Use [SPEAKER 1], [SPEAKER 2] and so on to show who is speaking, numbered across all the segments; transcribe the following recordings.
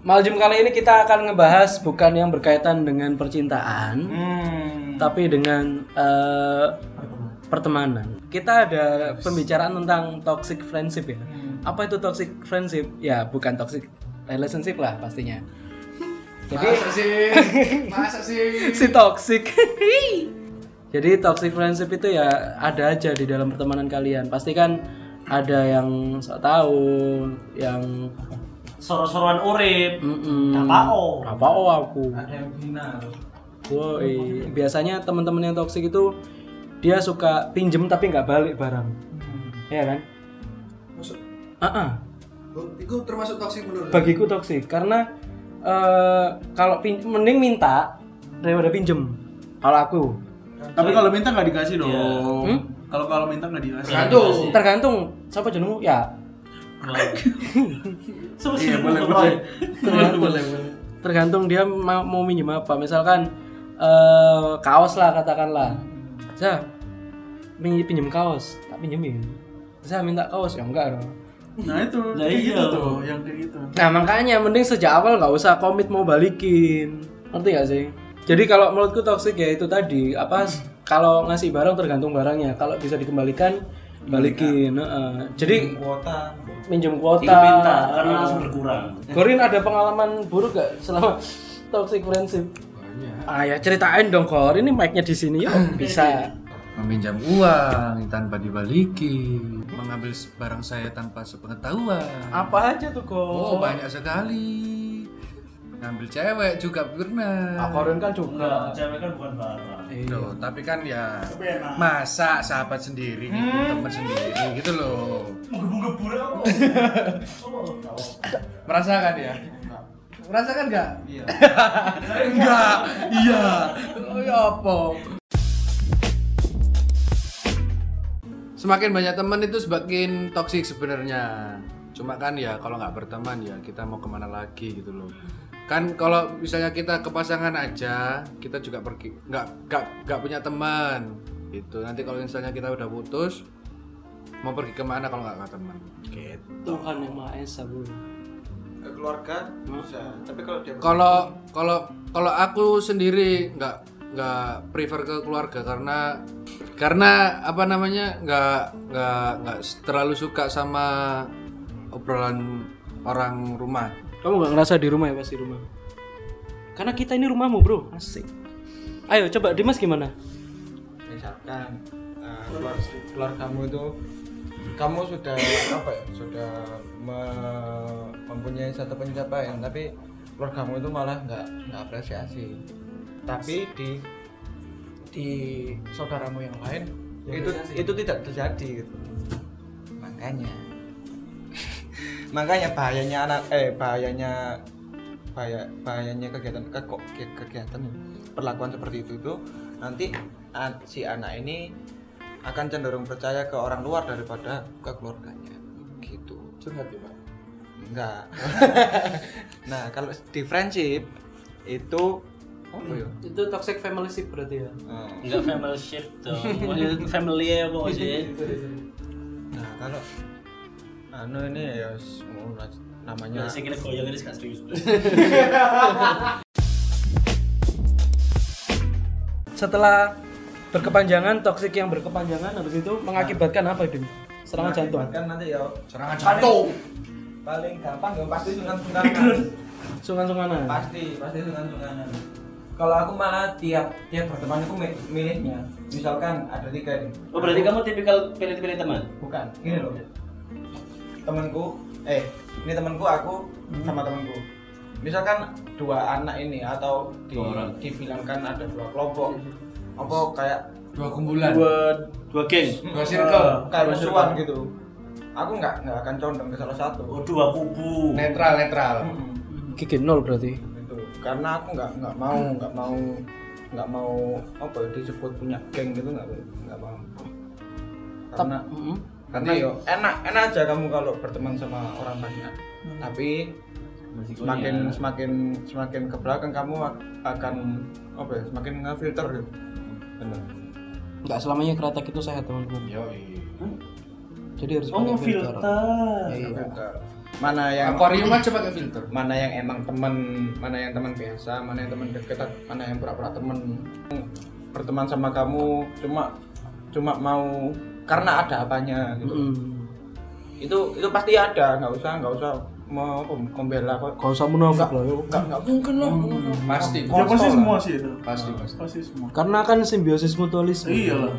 [SPEAKER 1] Maljum kali ini kita akan ngebahas bukan yang berkaitan dengan percintaan,
[SPEAKER 2] Hmm.
[SPEAKER 1] tapi dengan eh, pertemanan. Kita ada pembicaraan tentang toxic friendship ya. Apa itu toxic friendship? Ya, bukan toxic relationship lah pastinya. Jadi
[SPEAKER 2] Masa sih? Masa sih?
[SPEAKER 1] si toxic. Jadi toxic friendship itu ya ada aja di dalam pertemanan kalian. Pasti kan ada yang sok tahu, yang
[SPEAKER 3] Soro-soroan urip. oh.
[SPEAKER 1] mm
[SPEAKER 3] Kapao.
[SPEAKER 1] Kapao aku.
[SPEAKER 2] Ada yang hina.
[SPEAKER 1] Woi, biasanya teman-teman yang toksik itu dia suka pinjem tapi nggak balik barang,
[SPEAKER 3] Hmm.
[SPEAKER 1] ya kan?
[SPEAKER 2] Maksud,
[SPEAKER 1] Ah, ah.
[SPEAKER 2] oh, itu termasuk toksik menurut.
[SPEAKER 1] bagiku toksik karena eh, kalau pin- mending minta daripada pinjem. Kalau aku
[SPEAKER 4] Tapi kalau minta nggak dikasih dong.
[SPEAKER 1] Hmm?
[SPEAKER 4] Kalau kalau minta nggak dikasih.
[SPEAKER 2] Tergantung.
[SPEAKER 1] tergantung siapa jenengmu ya
[SPEAKER 3] Sebesar
[SPEAKER 4] Iya, boleh, boleh.
[SPEAKER 1] tergantung tergantung dia ma- mau minjem apa misalkan eh, kaos lah katakanlah Zah pinjem, pinjem kaos tak pinjemin Zah minta kaos ya enggak dong
[SPEAKER 4] Nah itu,
[SPEAKER 3] Nah,
[SPEAKER 4] kayak
[SPEAKER 3] iya.
[SPEAKER 4] gitu tuh, yang kayak gitu.
[SPEAKER 1] nah makanya mending sejak awal nggak usah komit mau balikin ngerti gak sih jadi kalau menurutku toksik ya itu tadi apa kalau ngasih barang tergantung barangnya kalau bisa dikembalikan balikin heeh. jadi
[SPEAKER 2] Kuota.
[SPEAKER 1] minjem kuota
[SPEAKER 3] Itu Hmm. minta
[SPEAKER 4] Ah,
[SPEAKER 3] karena
[SPEAKER 4] iya.
[SPEAKER 1] heeh.
[SPEAKER 3] langsung berkurang.
[SPEAKER 1] Gorin ada pengalaman buruk gak selama toxic friendship? Banyak. Ah ya ceritain dong Gor, ini mic-nya di sini yuk. Bisa.
[SPEAKER 5] meminjam uang tanpa dibalikin, mengambil barang saya tanpa sepengetahuan.
[SPEAKER 1] Apa aja tuh Gor?
[SPEAKER 5] Oh, banyak sekali. Ngambil cewek juga
[SPEAKER 1] Ah,
[SPEAKER 5] pernah.
[SPEAKER 1] Gorin kan
[SPEAKER 3] Enggak,
[SPEAKER 1] juga.
[SPEAKER 3] cewek kan bukan barang.
[SPEAKER 1] Iya.
[SPEAKER 5] Loh, tapi kan ya masa sahabat sendiri gitu, teman sendiri gitu loh.
[SPEAKER 3] Menggebu-gebur apa?
[SPEAKER 5] Merasakan ya? Merasakan nggak?
[SPEAKER 2] Iya.
[SPEAKER 5] Enggak. Iya. Oh, ya apa? Semakin banyak teman itu semakin toksik sebenarnya. Cuma kan ya kalau nggak berteman ya kita mau kemana lagi gitu loh. Kan kalau misalnya kita ke pasangan aja, kita juga pergi nggak nggak nggak punya teman. Itu nanti kalau misalnya kita udah putus mau pergi kemana kalau nggak ke teman?
[SPEAKER 1] Tuhan yang Maha Esa, Bu.
[SPEAKER 2] Keluarga bisa. Tapi kalau dia
[SPEAKER 5] kalau kalau kalau aku sendiri nggak nggak prefer ke keluarga karena karena apa namanya nggak nggak nggak terlalu suka sama obrolan orang rumah
[SPEAKER 1] Kamu nggak ngerasa di rumah ya pas di rumah? Karena kita ini rumahmu, Bro. Asik. Ayo coba Dimas gimana?
[SPEAKER 2] misalkan eh, keluar, keluar kamu itu kamu sudah apa ya sudah me- mempunyai satu pencapaian tapi keluar kamu itu malah nggak nggak apresiasi tapi di di saudaramu yang lain itu itu tidak terjadi gitu makanya makanya bahayanya anak eh bahayanya bahaya bahayanya kegiatan ke, ke- kegiatan perlakuan seperti itu itu nanti an- si anak ini akan cenderung percaya ke orang luar daripada ke keluarganya gitu curhat ya pak enggak nah kalau di friendship itu apa ya
[SPEAKER 1] Itu toxic family ship berarti ya.
[SPEAKER 2] Eh,
[SPEAKER 3] Enggak family ship dong. Itu family ya pokoknya.
[SPEAKER 2] nah kalau anu ini ya s- mau na- namanya
[SPEAKER 3] Ya sing kene goyang ini gak serius.
[SPEAKER 1] Setelah berkepanjangan, toxic yang berkepanjangan habis itu mengakibatkan apa, Dim? Serangan jantung.
[SPEAKER 2] kan nanti ya
[SPEAKER 5] serangan jantung
[SPEAKER 2] paling gampang gak pasti sungan-sungan
[SPEAKER 1] Sungan-sunganan.
[SPEAKER 2] pasti pasti sungan-sunganan kalau aku malah tiap tiap berteman aku mi- milihnya misalkan ada tiga nih
[SPEAKER 3] Oh berarti kamu tipikal pilih-pilih teman?
[SPEAKER 2] bukan gini loh temanku eh ini temanku aku sama temanku misalkan dua anak ini atau di,
[SPEAKER 3] Dua orang.
[SPEAKER 2] dibilangkan ada dua kelompok apa kayak
[SPEAKER 5] dua kumpulan
[SPEAKER 3] Dua dua geng.
[SPEAKER 5] dua circle
[SPEAKER 2] Eh, kayak musuhan gitu aku nggak nggak akan condong ke salah satu
[SPEAKER 3] Oh dua kubu.
[SPEAKER 5] netral netral
[SPEAKER 4] Hmm.
[SPEAKER 2] Mm-mm.
[SPEAKER 1] Gigi nol berarti.
[SPEAKER 2] itu Gitu. karena aku nggak nggak mau nggak mau nggak mau apa ya, disebut punya geng gitu nggak nggak mau karena
[SPEAKER 1] Mm-mm.
[SPEAKER 2] karena yo enak enak aja kamu kalau berteman sama orang banyak tapi
[SPEAKER 3] Resikonya.
[SPEAKER 2] semakin semakin semakin ke belakang kamu ak- akan apa ya semakin ngefilter gitu. bener
[SPEAKER 1] Enggak selamanya kretek itu sehat, teman-teman.
[SPEAKER 5] Yo,
[SPEAKER 1] Jadi harus
[SPEAKER 3] Oh, ngefilter.
[SPEAKER 1] Iya.
[SPEAKER 2] filter mana yang
[SPEAKER 5] Aquarium aja pakai filter.
[SPEAKER 2] mana yang emang teman mana yang teman biasa mana yang teman deket mana yang pura-pura teman berteman sama kamu cuma cuma mau karena ada apanya gitu.
[SPEAKER 1] Mm.
[SPEAKER 2] itu itu pasti ada nggak usah nggak usah mau mem- membela kok
[SPEAKER 1] Kalau usah munafik lah, yuk.
[SPEAKER 2] nggak nggak mungkin loh
[SPEAKER 5] Pasti.
[SPEAKER 4] Ya pasti
[SPEAKER 2] Kontol
[SPEAKER 4] semua
[SPEAKER 2] lah.
[SPEAKER 4] sih itu.
[SPEAKER 5] Pasti, pasti.
[SPEAKER 4] Pasti semua.
[SPEAKER 1] Karena kan simbiosis mutualisme.
[SPEAKER 4] Iya lah.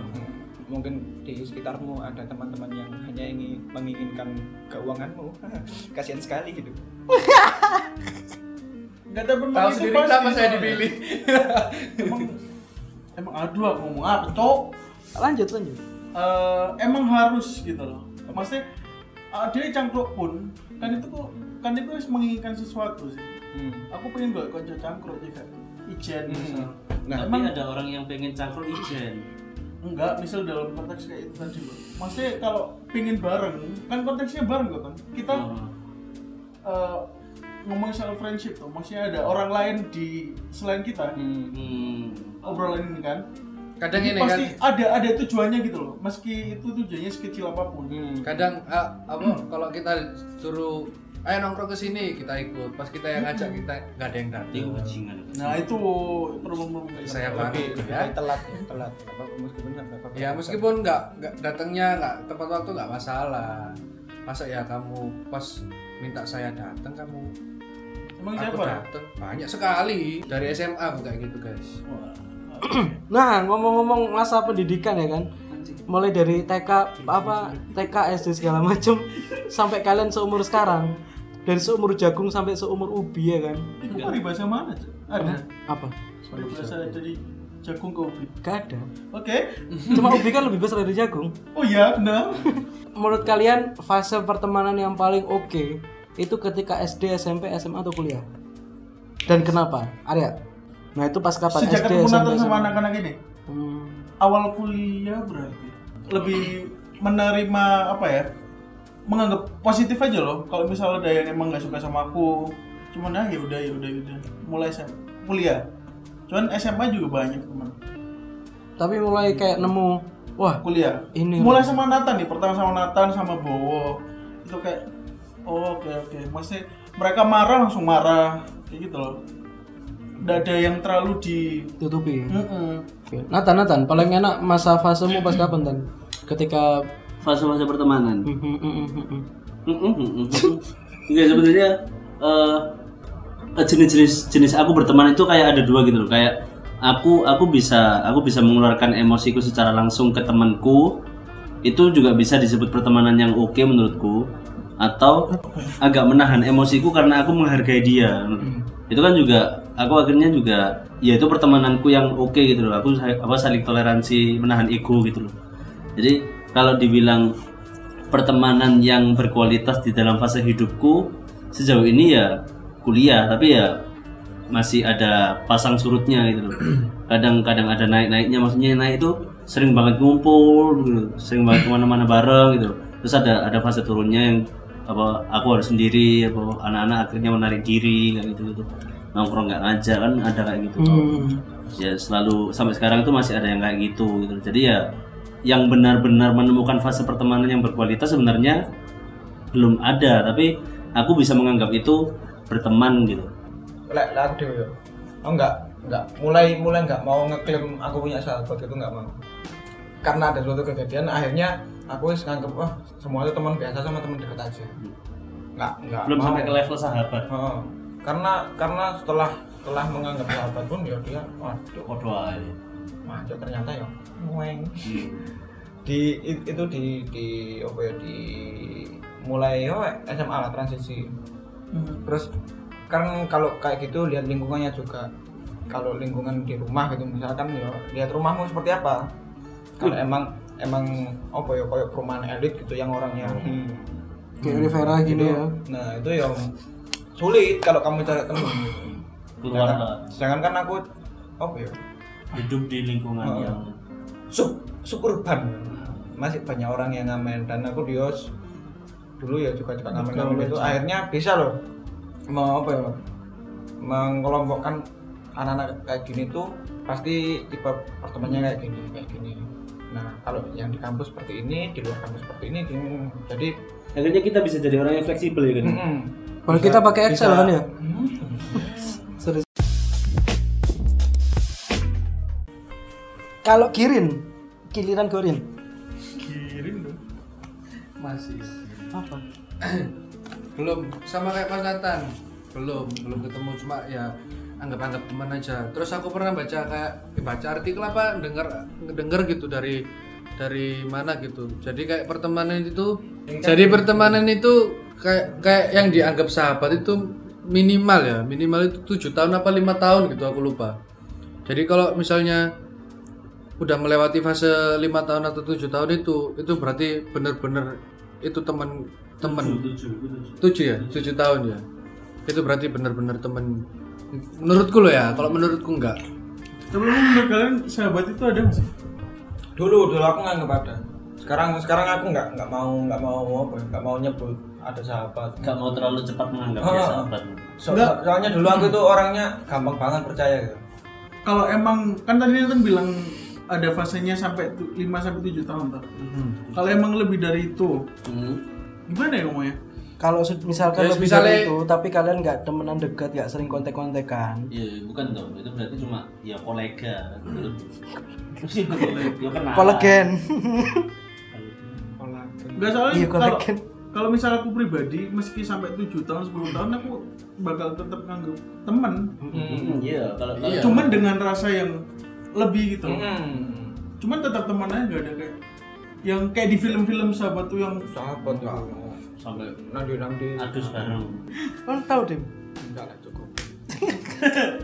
[SPEAKER 2] mungkin di sekitarmu ada teman-teman yang hanya ingin menginginkan keuanganmu kasihan sekali gitu
[SPEAKER 4] Gak ada benar
[SPEAKER 5] Tahu
[SPEAKER 4] itu
[SPEAKER 5] sendiri
[SPEAKER 4] pasti,
[SPEAKER 5] kenapa saya
[SPEAKER 4] soalnya.
[SPEAKER 5] dipilih.
[SPEAKER 4] Emang emang aduh aku ngomong apa, Cok?
[SPEAKER 1] Lanjut, lanjut.
[SPEAKER 4] eh, emang harus gitu loh maksudnya eh, dia cangkruk pun kan itu kok kan itu harus menginginkan sesuatu sih
[SPEAKER 2] Hmm.
[SPEAKER 4] aku pengen gue konco cangkruk ya kan ijen misal
[SPEAKER 2] nah
[SPEAKER 3] Tapi iya, ada orang yang pengen cangkruk ijen.
[SPEAKER 4] enggak misal dalam konteks kayak itu tadi loh maksudnya kalau pengen bareng kan konteksnya bareng kok kan kita eh, ngomong soal friendship tuh maksudnya ada orang lain di selain kita
[SPEAKER 3] Hmm.
[SPEAKER 4] obrolan ini kan
[SPEAKER 5] Kadang
[SPEAKER 4] Jadi
[SPEAKER 5] ini kan,
[SPEAKER 4] pasti ada ada tujuannya gitu loh meski itu tujuannya sekecil apapun
[SPEAKER 5] kadang ah, apa kalau kita suruh ayo nongkrong ke sini kita ikut pas kita yang ngajak kita nggak ada yang
[SPEAKER 3] Dia
[SPEAKER 5] datang
[SPEAKER 3] bajingan.
[SPEAKER 4] nah itu problem-problem kayak
[SPEAKER 5] saya
[SPEAKER 4] gitu.
[SPEAKER 5] banget
[SPEAKER 2] lebih
[SPEAKER 5] ya
[SPEAKER 2] telat telat apa meskipun nggak apa-apa.
[SPEAKER 5] ya meskipun nggak nggak datangnya nggak tepat waktu nggak masalah masa ya kamu pas minta saya datang kamu
[SPEAKER 4] emang
[SPEAKER 5] aku
[SPEAKER 4] siapa
[SPEAKER 5] datang banyak sekali dari SMA aku kayak gitu guys
[SPEAKER 1] Nah, ngomong-ngomong masa pendidikan ya kan. Mulai dari TK apa TK SD segala macam sampai kalian seumur sekarang. Dari seumur jagung sampai seumur ubi ya kan.
[SPEAKER 4] Itu peribahasa mana, Cok? Iya. Ada.
[SPEAKER 1] Apa?
[SPEAKER 4] Peribahasa dari jagung ke ubi.
[SPEAKER 1] Gak ada.
[SPEAKER 4] Oke.
[SPEAKER 1] Cuma ubi kan lebih besar dari jagung.
[SPEAKER 4] Oh iya, benar.
[SPEAKER 1] Menurut kalian fase pertemanan yang paling oke itu ketika SD, SMP, SMA atau kuliah? Dan kenapa? Arya. Nah, itu pas kapan SD,
[SPEAKER 4] Sejak ketemu
[SPEAKER 1] SMP?
[SPEAKER 4] Nathan sama anak-anak ini,
[SPEAKER 1] Hmm,
[SPEAKER 4] awal kuliah berarti lebih menerima apa ya? Menganggap positif aja loh. Kalau misalnya ada yang emang nggak suka sama aku, cuman ah ya udah ya udah ya udah. Mulai SMA, kuliah. Cuman SMA juga banyak teman.
[SPEAKER 1] Tapi mulai kayak nemu, wah,
[SPEAKER 4] Kuliah.
[SPEAKER 1] Ini
[SPEAKER 4] mulai sama Nathan nih pertama sama Nathan sama Bowo itu kayak oh, oke oke maksudnya mereka marah langsung marah kayak gitu loh nggak ada yang terlalu di
[SPEAKER 1] tutupi.
[SPEAKER 4] Mm-mm.
[SPEAKER 1] Oke. Nathan, Nathan, paling enak masa fasemu pas kapan, Tan? Ketika
[SPEAKER 3] Fase-fase pertemanan.
[SPEAKER 1] Mm, mm, mm, mm, mm.
[SPEAKER 3] Enggak sebenarnya Iya, eh, jenis-jenis jenis aku berteman itu kayak ada dua gitu loh. Kayak aku aku bisa aku bisa mengeluarkan emosiku secara langsung ke temanku. Itu juga bisa disebut pertemanan yang oke menurutku atau agak menahan emosiku karena aku menghargai dia. Itu kan juga aku akhirnya juga ya itu pertemananku yang oke gitu loh. Aku sa- apa saling toleransi menahan ego gitu loh. Jadi kalau dibilang pertemanan yang berkualitas di dalam fase hidupku sejauh ini ya kuliah tapi ya masih ada pasang surutnya gitu loh kadang-kadang ada naik-naiknya maksudnya naik itu sering banget ngumpul gitu. sering banget kemana-mana bareng gitu terus ada ada fase turunnya yang apa aku harus sendiri apa anak-anak akhirnya menarik diri kayak gitu gitu nongkrong nggak ngajak kan ada kayak gitu
[SPEAKER 1] Hmm.
[SPEAKER 3] ya selalu sampai sekarang itu masih ada yang kayak gitu gitu jadi ya yang benar-benar menemukan fase pertemanan yang berkualitas sebenarnya belum ada tapi aku bisa menganggap itu berteman gitu
[SPEAKER 2] lek lek aku dhewe yo. Oh enggak, enggak. Mulai mulai enggak mau ngeklaim aku punya sahabat itu enggak mau. Karena ada suatu kejadian akhirnya aku wis nganggep wah semua itu teman biasa sama teman dekat aja. Enggak, enggak.
[SPEAKER 3] belum
[SPEAKER 2] mau.
[SPEAKER 3] sampai ke level sahabat
[SPEAKER 2] Heeh. Karena karena setelah setelah menganggap sahabat pun ya dia waduh,
[SPEAKER 3] kodo aja
[SPEAKER 2] waduh ternyata ya mueng.
[SPEAKER 3] Hmm.
[SPEAKER 2] Di it- itu di di apa ya di mulai oh, SMA lah transisi
[SPEAKER 1] Hmm.
[SPEAKER 2] terus kan kalau kayak gitu lihat lingkungannya juga kalau lingkungan di rumah gitu misalkan ya lihat rumahmu seperti apa kalau
[SPEAKER 1] Iya.
[SPEAKER 2] emang emang apa ya kayak perumahan elit gitu yang orangnya
[SPEAKER 1] Kayak Rivera gitu ya.
[SPEAKER 2] nah itu yang sulit kalau kamu cari teman
[SPEAKER 3] keluar
[SPEAKER 2] sedangkan kan aku apa ya
[SPEAKER 3] hidup di lingkungan
[SPEAKER 2] Oh.
[SPEAKER 3] yang
[SPEAKER 2] sub suburban masih banyak orang yang ngamen dan aku dios dulu ya juga juga ngamen ngamen itu akhirnya bisa loh mau apa ya mengelompokkan anak-anak kayak gini tuh pasti tipe pertemanannya kayak gini kayak gini nah kalau yang di kampus seperti ini di luar kampus seperti ini gini. jadi
[SPEAKER 3] akhirnya kita bisa jadi orang yang fleksibel ya kan
[SPEAKER 2] mm,
[SPEAKER 1] Kalau kita pakai Excel kan ya.
[SPEAKER 2] Hmm?
[SPEAKER 1] Serius. Kalau kirin, giliran gorin.
[SPEAKER 4] kirim dong
[SPEAKER 5] Masih.
[SPEAKER 1] Apa?
[SPEAKER 5] Belum sama kayak Mas Nathan. Belum, belum ketemu cuma ya anggap-anggap teman aja. Terus aku pernah baca kayak eh, baca artikel apa denger denger gitu dari dari mana gitu. Jadi kayak pertemanan itu jadi pertemanan itu kayak kayak yang dianggap sahabat itu minimal ya, minimal itu tujuh tahun apa lima tahun gitu aku lupa. Jadi kalau misalnya udah melewati fase lima tahun atau tujuh tahun itu itu berarti bener-bener itu temen temen tujuh ya tujuh tahun ya itu berarti bener-bener temen menurutku loh ya kalau menurutku enggak
[SPEAKER 4] tapi emang menurut kalian sahabat itu ada nggak sih
[SPEAKER 2] dulu dulu aku nganggep ada sekarang sekarang aku nggak nggak mau nggak mau apa ya, nggak mau nyebut ada sahabat
[SPEAKER 3] nggak mau terlalu cepat menganggap
[SPEAKER 2] Ah.
[SPEAKER 3] dia sahabat
[SPEAKER 2] So- soalnya dulu aku itu orangnya gampang banget percaya gitu
[SPEAKER 4] kalau emang kan tadi kan bilang ada fasenya sampai 5 sampai 7 tahun tuh. Kalau emang lebih dari itu, gimana ya ngomongnya?
[SPEAKER 1] Kalau se- misalkan
[SPEAKER 4] Ya,
[SPEAKER 5] Terus
[SPEAKER 1] lebih
[SPEAKER 5] misalnya-
[SPEAKER 1] dari itu, tapi kalian nggak temenan dekat, nggak sering kontek-kontekan.
[SPEAKER 3] Iya, bukan dong. Itu berarti cuma ya kolega. Terus ya kolega. Ya kenal.
[SPEAKER 1] Kolegen.
[SPEAKER 4] Enggak soalnya
[SPEAKER 1] Iya,
[SPEAKER 4] kalau
[SPEAKER 1] kolekin.
[SPEAKER 4] kalau misalnya aku pribadi meski sampai 7 tahun 10 tahun aku bakal tetap nganggep temen
[SPEAKER 3] Hmm, Iya, kalau kalau
[SPEAKER 5] Iya.
[SPEAKER 4] cuman dengan rasa yang lebih gitu
[SPEAKER 2] Hmm.
[SPEAKER 4] cuman tetap temen aja nggak ada kayak yang kayak di film-film sahabat tuh yang
[SPEAKER 2] sahabat nggak mau
[SPEAKER 3] sampai
[SPEAKER 2] nanti nanti
[SPEAKER 3] adus bareng.
[SPEAKER 1] Kan tahu deh.
[SPEAKER 2] enggak lah cukup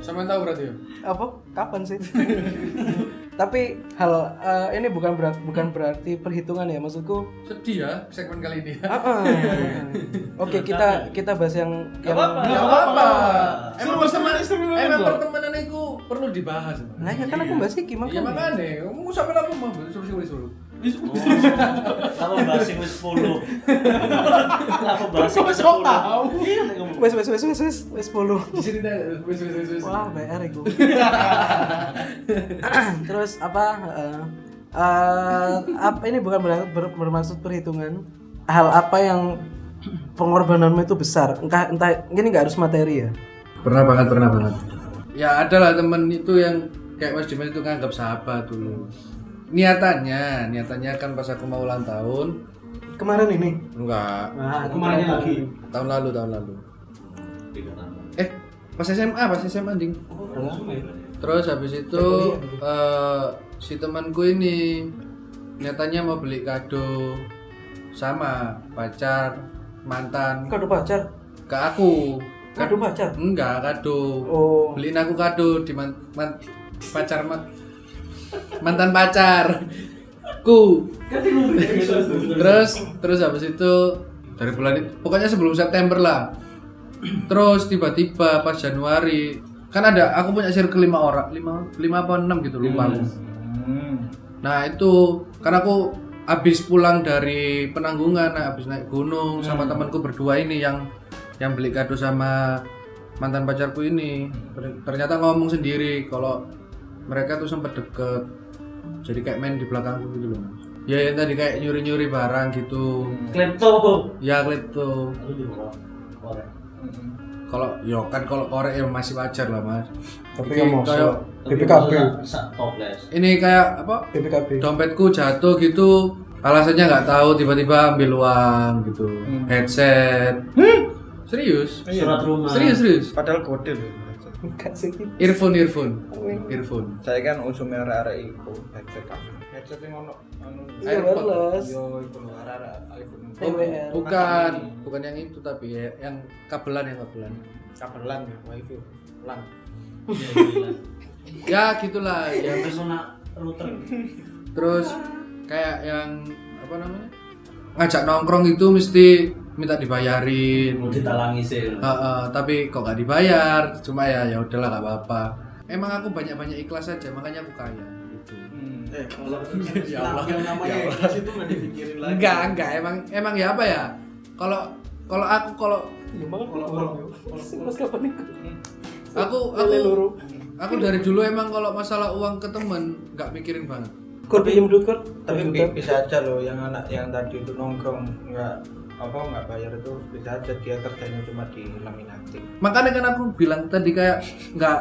[SPEAKER 5] sama tahu berarti ya
[SPEAKER 1] Apa? Kapan sih? tapi hal eh, ini bukan berat, bukan berarti perhitungan ya maksudku.
[SPEAKER 5] sedih ya segmen kali ini
[SPEAKER 1] ah, ah. Oke, kita kita bahas yang yang
[SPEAKER 5] nggak apa-apa
[SPEAKER 4] emang pertemanan seru
[SPEAKER 5] emang pertemanan itu perlu dibahas
[SPEAKER 1] Nah, ya kan aku bahas iki makanya.
[SPEAKER 5] ya makanya kamu sampai lama mau suruh suruh suruh
[SPEAKER 3] Kalau bahas yang 10. Kenapa bahas yang 10? Iya, nek ngomong.
[SPEAKER 1] Wes wes wes wes wes wes 10.
[SPEAKER 5] di sini dah wes wes wes wes
[SPEAKER 1] Wah, PR iku. Terus apa? eh, eh, apa ini bukan ber- ber- bermaksud perhitungan. Hal apa yang pengorbananmu itu besar? Entah entah ini nggak harus materi ya.
[SPEAKER 5] pernah banget pernah banget ya ada lah temen itu yang kayak Mas Dimas itu nganggap sahabat dulu niatannya niatannya kan pas aku mau ulang tahun
[SPEAKER 1] Kemarin ini.
[SPEAKER 5] enggak
[SPEAKER 1] Nah,
[SPEAKER 5] tahun lalu tahun lalu
[SPEAKER 3] Tiga tahun.
[SPEAKER 5] eh pas SMA pas SMA anjing terus habis itu eh, si temanku ini niatannya mau beli kado sama pacar mantan
[SPEAKER 1] kado pacar.
[SPEAKER 5] ke aku
[SPEAKER 1] Kado pacar.
[SPEAKER 5] enggak kado
[SPEAKER 1] Oh,
[SPEAKER 5] beliin aku kado di man, man- pacar ma- mantan pacar ku terus terus habis itu dari bulan pokoknya sebelum September lah terus tiba-tiba pas Januari kan ada aku punya circle lima orang lima lima apa enam gitu lupa aku. nah itu karena aku habis pulang dari penanggungan nah, habis naik gunung sama temanku berdua ini yang yang beli kado sama mantan pacarku ini Ter- ternyata ngomong sendiri kalau mereka tuh sempat deket jadi kayak main di belakangku gitu loh Mas. ya yang tadi kayak nyuri nyuri barang gitu
[SPEAKER 3] Klepto.
[SPEAKER 5] ya klepto
[SPEAKER 3] Aku juga orang. Orang.
[SPEAKER 5] kalau yo kan kalau korek ya masih wajar lah mas
[SPEAKER 1] tapi
[SPEAKER 5] Ini
[SPEAKER 1] yang masuk
[SPEAKER 5] kayak-
[SPEAKER 3] Tapi
[SPEAKER 1] BPKB,
[SPEAKER 3] maksudnya sak toples.
[SPEAKER 5] ini kayak apa
[SPEAKER 1] BPKB.
[SPEAKER 5] dompetku jatuh gitu alasannya nggak tahu tiba-tiba ambil uang gitu headset serius
[SPEAKER 3] Surat rumah.
[SPEAKER 5] serius serius
[SPEAKER 2] padahal kode loh
[SPEAKER 1] Enggak sih.
[SPEAKER 5] earphone earphone earphone
[SPEAKER 2] saya kan usumnya arah-arah iku headset aku headset yang ono anu
[SPEAKER 1] Iya, wireless.
[SPEAKER 2] yo iku lho, arah-arah iPhone
[SPEAKER 1] TWR.
[SPEAKER 5] bukan bukan yang itu tapi ya, yang kabelan yang kabelan
[SPEAKER 2] kabelan ya wifi lan
[SPEAKER 3] Iya, gila.
[SPEAKER 5] ya gitulah ya
[SPEAKER 3] Yang pesona router.
[SPEAKER 5] terus kayak yang apa namanya ngajak nongkrong itu mesti minta dibayarin
[SPEAKER 3] Mau ditalangi sih.
[SPEAKER 5] Ah, ah, tapi kok gak dibayar cuma ya ya udahlah gak apa-apa emang aku banyak-banyak ikhlas aja makanya aku kaya gitu.
[SPEAKER 4] eh kalau yang namanya ikhlas itu nggak dipikirin lagi
[SPEAKER 5] enggak enggak emang emang ya apa ya kalau kalau aku kalau
[SPEAKER 1] Ya banget kalau orang yo. Mas kapan iku?
[SPEAKER 5] Aku
[SPEAKER 1] Lele
[SPEAKER 5] aku
[SPEAKER 1] loro.
[SPEAKER 5] aku dari dulu emang kalau masalah uang ke temen nggak mikirin banget.
[SPEAKER 1] Kur pinjem duit kur.
[SPEAKER 2] tapi
[SPEAKER 1] Pinjem
[SPEAKER 2] bi-
[SPEAKER 1] duit.
[SPEAKER 2] bisa aja loh yang anak yang tadi itu nongkrong nggak apa nggak bayar itu bisa aja dia kerjanya cuma di laminating
[SPEAKER 5] Makanya kan aku bilang tadi kayak nggak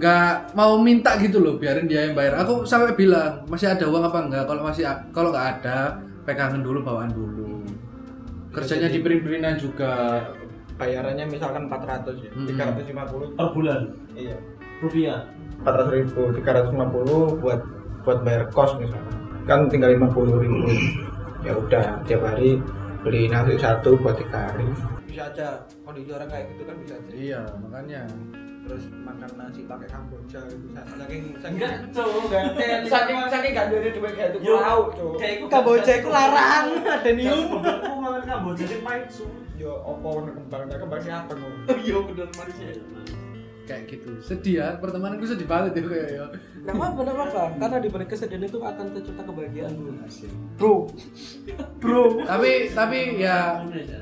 [SPEAKER 5] nggak mau minta gitu loh biarin dia yang bayar. Aku sampai bilang masih ada uang apa enggak? Kalau masih kalau nggak ada pegangan dulu bawaan dulu. Kerjanya di perin-perinan juga.
[SPEAKER 2] bayarannya misalkan 400 ya
[SPEAKER 5] Mm-mm.
[SPEAKER 2] 350
[SPEAKER 3] per bulan
[SPEAKER 2] iya
[SPEAKER 3] rupiah
[SPEAKER 2] 400 ribu 350 buat buat bayar kos misalkan kan tinggal 50 ribu ya udah tiap hari beli nasi satu buat tiga hari bisa aja kondisi orang kayak gitu kan bisa aja
[SPEAKER 5] Iya makanya.
[SPEAKER 2] terus makan nasi pakai kamboja gitu saking
[SPEAKER 3] enggak cowok
[SPEAKER 2] saking saking saking gak ada duit kayak itu
[SPEAKER 3] Yo.
[SPEAKER 2] mau cuk
[SPEAKER 1] Kamboja iku larang, adenium.
[SPEAKER 3] aku makan kamboja sih pahit su
[SPEAKER 2] yo opo ono kembangnya kembang siapa ngomong
[SPEAKER 4] Iya bener manis ya.
[SPEAKER 5] Kayak gitu. Sedih ya pertemananku sedih banget ya kayak ya.
[SPEAKER 1] Enggak apa-apa, enggak apa-apa. Karena di balik kesedihan itu akan tercipta kebahagiaan bro. Bro. Bro.
[SPEAKER 5] Tapi tapi ya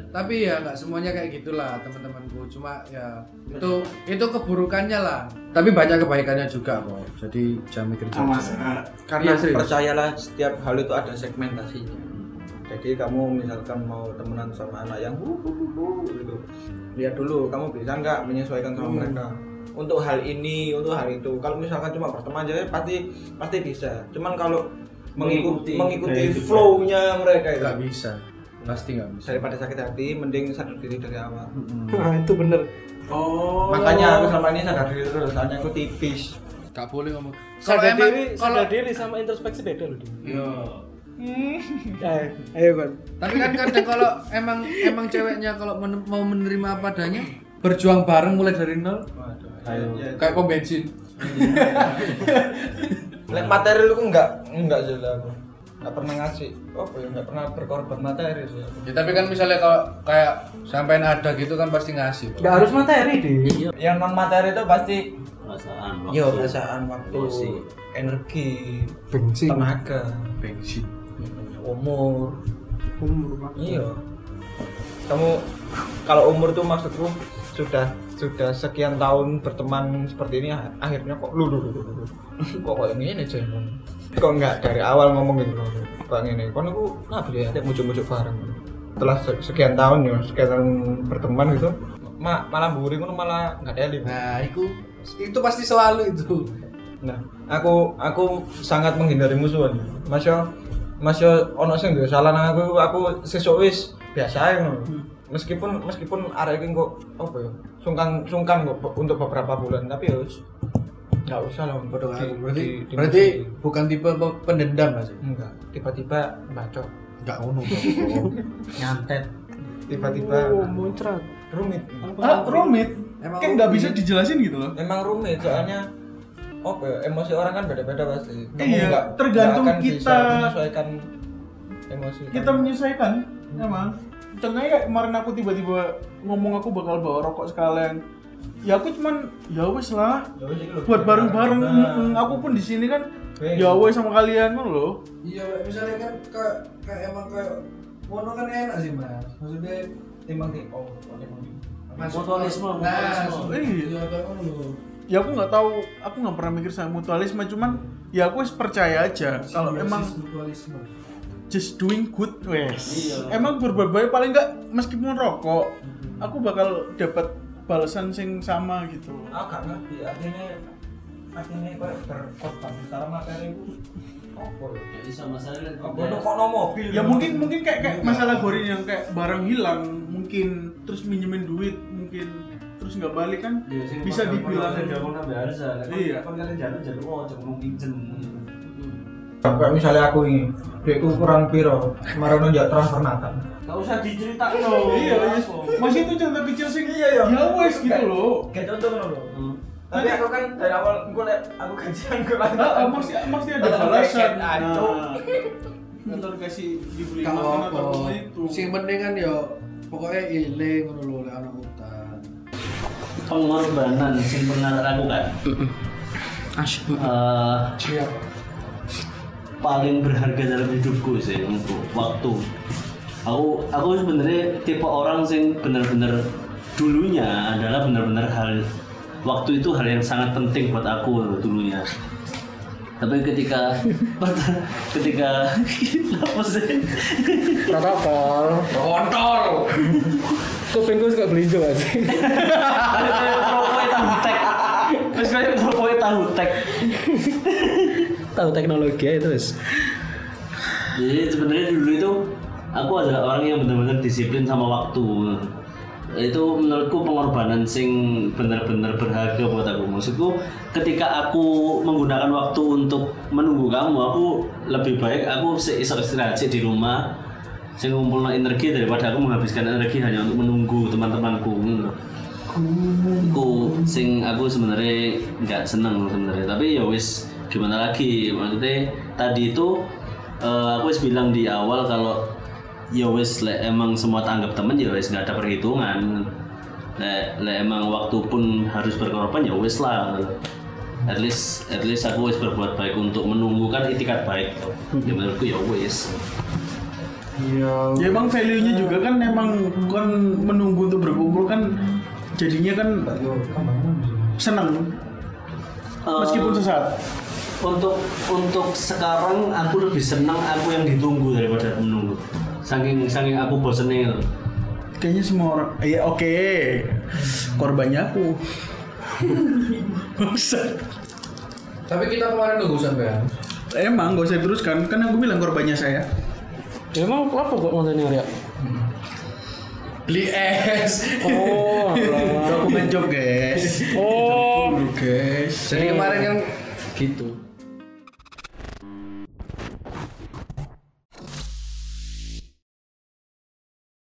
[SPEAKER 5] tapi ya nggak semuanya kayak gitulah teman-temanku cuma ya itu itu keburukannya lah tapi banyak kebaikannya juga kok jadi jangan mikir jauh
[SPEAKER 2] karena
[SPEAKER 5] Iya, serius.
[SPEAKER 2] percayalah setiap hal itu ada segmentasinya jadi kamu misalkan mau temenan sama anak yang hu, hu, hu, hu, gitu lihat dulu kamu bisa nggak menyesuaikan sama mereka untuk hal ini untuk hal itu kalau misalkan cuma berteman aja pasti pasti bisa cuman kalau mengikuti mengikuti
[SPEAKER 3] Mengikuti gaya hidup.
[SPEAKER 2] flow-nya mereka itu
[SPEAKER 5] nggak bisa pasti nggak bisa
[SPEAKER 2] daripada sakit hati mending sadar diri dari awal
[SPEAKER 1] Nah, itu bener.
[SPEAKER 4] Oh.
[SPEAKER 2] makanya aku selama ini sadar diri terus soalnya aku tipis
[SPEAKER 5] nggak boleh ngomong kalau
[SPEAKER 1] Sadar
[SPEAKER 5] emang
[SPEAKER 1] diri,
[SPEAKER 5] kalau Iya.
[SPEAKER 1] sadar diri sama introspeksi beda loh. Dim.
[SPEAKER 3] yo
[SPEAKER 1] Ayo, ayo kan.
[SPEAKER 5] tapi kan kadang kalau emang emang ceweknya kalau men- mau menerima apa adanya berjuang bareng mulai dari nol
[SPEAKER 2] Waduh, ya- ya-
[SPEAKER 5] kayak pom bensin
[SPEAKER 2] Lek materi lu enggak enggak sih lah aku. Enggak pernah ngasih. Apa ya enggak pernah berkorban materi sih. aku.
[SPEAKER 5] ya tapi kan misalnya kalau kayak sampein ada gitu kan pasti ngasih
[SPEAKER 1] Enggak harus materi deh.
[SPEAKER 5] Iya.
[SPEAKER 2] Iya. Yang non materi itu pasti
[SPEAKER 3] perasaan
[SPEAKER 2] ya perasaan waktu,
[SPEAKER 3] Emosi.
[SPEAKER 2] energi,
[SPEAKER 1] Bensin.
[SPEAKER 2] tenaga,
[SPEAKER 5] bensin
[SPEAKER 2] umur.
[SPEAKER 1] Umur.
[SPEAKER 2] Iya. Kamu kalau umur tuh maksudku sudah sudah sekian tahun berteman seperti ini ah- akhirnya kok lu lu lu lu, lu. kok kayak gini sih kok enggak dari awal ngomong gitu kok ini kan aku kenapa ya ada muncul-muncul bareng setelah se- sekian tahun ya sekian tahun berteman gitu ma malah buri kan malah nggak ada lip.
[SPEAKER 5] nah itu itu pasti selalu itu
[SPEAKER 2] nah aku aku sangat menghindari musuhan mas yo mas yo ono sing duwe salah nang aku aku sesuk wis biasa ae ngono meskipun meskipun arek iki kok apa ya sungkan sungkan kok be- untuk beberapa bulan tapi ya wis nggak usah lah untuk
[SPEAKER 5] Berarti,
[SPEAKER 2] di-
[SPEAKER 5] berarti,
[SPEAKER 2] di- di-
[SPEAKER 5] berarti bukan tipe pe- pendendam mas
[SPEAKER 2] enggak tiba-tiba bacot
[SPEAKER 5] Enggak ngono.
[SPEAKER 2] nyantet tiba-tiba
[SPEAKER 1] Oh, muncrat.
[SPEAKER 2] rumit
[SPEAKER 4] Ah, rumit.
[SPEAKER 5] Emang
[SPEAKER 4] Kan nggak bisa dijelasin gitu loh.
[SPEAKER 2] memang rumit soalnya apa ya, emosi orang kan beda-beda pasti Kamu
[SPEAKER 4] Iya,
[SPEAKER 2] nggak-
[SPEAKER 4] tergantung
[SPEAKER 2] nggak akan bisa
[SPEAKER 4] kita-
[SPEAKER 2] menyesuaikan emosi
[SPEAKER 4] Kita
[SPEAKER 2] kamu.
[SPEAKER 4] menyesuaikan emang. Contohnya kayak kemarin aku tiba-tiba ngomong aku bakal bawa rokok sekalian. Ya aku cuman ya wes lah
[SPEAKER 2] Ya wis, iki lho,
[SPEAKER 4] buat bareng-bareng.
[SPEAKER 2] Nah,
[SPEAKER 4] Mm, Aku pun di sini kan
[SPEAKER 2] Weh.
[SPEAKER 4] ya wes sama kalian kan loh.
[SPEAKER 5] Iya, Mbak. misalnya kan kayak kayak emang kayak ngono kan enak sih, Mas. Maksudnya
[SPEAKER 2] timbang di oh timbang di
[SPEAKER 5] Mas
[SPEAKER 3] Mutualisme, mutualisme.
[SPEAKER 5] Iya, kayak ngono.
[SPEAKER 4] Ya aku nggak tahu, aku nggak pernah mikir sama mutualisme cuman ya aku wes percaya aja kalau
[SPEAKER 5] Simbiosis
[SPEAKER 4] emang
[SPEAKER 5] mutualisme.
[SPEAKER 4] just doing good wes emang berbuat baik paling nggak meskipun rokok aku bakal dapat balasan sing sama gitu
[SPEAKER 2] ah gak ngerti akhirnya akhirnya kok berkorban secara materi itu apa ya?
[SPEAKER 3] bisa masalahnya
[SPEAKER 5] Iya.
[SPEAKER 2] apa itu kok no mobil
[SPEAKER 4] ya mungkin mungkin kayak kayak masalah gorin yang kayak barang hilang mungkin terus minjemin duit mungkin terus nggak balik kan bisa dibilang Iya.
[SPEAKER 3] iya kan kalian jatuh jatuh oh jangan mau pinjem
[SPEAKER 2] kayak misalnya aku ini duitku kurang piro kemarin udah transfer natal
[SPEAKER 3] gak usah diceritain
[SPEAKER 4] iya iya. masih itu contoh kecil sih
[SPEAKER 2] Iya, iya.
[SPEAKER 4] ya wes gitu loh
[SPEAKER 2] kayak contoh kan loh tapi aku kan dari awal gue liat aku gajian gue lagi
[SPEAKER 4] Ah, ah, mesti mesti ada
[SPEAKER 2] Tetap
[SPEAKER 4] balasan
[SPEAKER 2] kecil, aduh.
[SPEAKER 4] Nah, atau dikasih dibeli
[SPEAKER 5] Kalau
[SPEAKER 4] makan
[SPEAKER 5] apa?
[SPEAKER 4] atau apa itu
[SPEAKER 5] Sing penting kan yo pokoknya iling ngono lho lek ana utang.
[SPEAKER 3] pengorbanan sing pernah aku kan
[SPEAKER 1] Asyik.
[SPEAKER 3] Eh, paling berharga dalam hidupku sih untuk waktu aku aku sebenarnya tipe orang sing bener-bener dulunya adalah benar-benar hal waktu itu hal yang sangat penting buat aku loh dulunya tapi ketika ketika apa sih
[SPEAKER 1] protokol
[SPEAKER 5] kontol
[SPEAKER 1] kupingku suka belinjo aja
[SPEAKER 3] Kayak Propoe tahu tek terus kayak propoe tahu tek
[SPEAKER 1] tahu teknologi aja terus
[SPEAKER 3] jadi sebenarnya dulu itu aku adalah orang yang benar-benar disiplin sama waktu itu menurutku pengorbanan sing benar-benar berharga buat aku maksudku ketika aku menggunakan waktu untuk menunggu kamu aku lebih baik aku sik iso istirahat sik di rumah sing ngumpulno energi daripada aku menghabiskan energi hanya untuk menunggu teman-temanku ngono lho. aku sing aku sebenarnya nggak seneng sebenarnya tapi ya wis gimana lagi maksudnya tadi itu eh, aku wis bilang di awal kalau ya wis lek emang semua tanggap temen ya wis nggak ada perhitungan lek lek emang waktu pun harus berkorban ya wis lah at least at least aku wis berbuat baik untuk menunggu kan itikat baik tuh ya menurutku ya wis
[SPEAKER 4] Ya emang value-nya juga kan emang bukan menunggu untuk berkumpul kan jadinya kan senang meskipun sesaat.
[SPEAKER 3] untuk untuk sekarang aku lebih senang aku yang ditunggu daripada aku menunggu saking saking aku bosennya gitu.
[SPEAKER 4] Kayaknya semua orang ya oke. Korbannya aku. Bangsat.
[SPEAKER 5] tapi kita kemarin nunggu sampean
[SPEAKER 4] Emang gak usah teruskan, kan aku bilang korbannya saya.
[SPEAKER 1] ya emang apa kok nonton ini ya
[SPEAKER 5] beli es
[SPEAKER 1] oh alah.
[SPEAKER 4] Dokumen job guys.
[SPEAKER 1] oh
[SPEAKER 4] Dulu guys.
[SPEAKER 5] jadi kemarin kan
[SPEAKER 1] gitu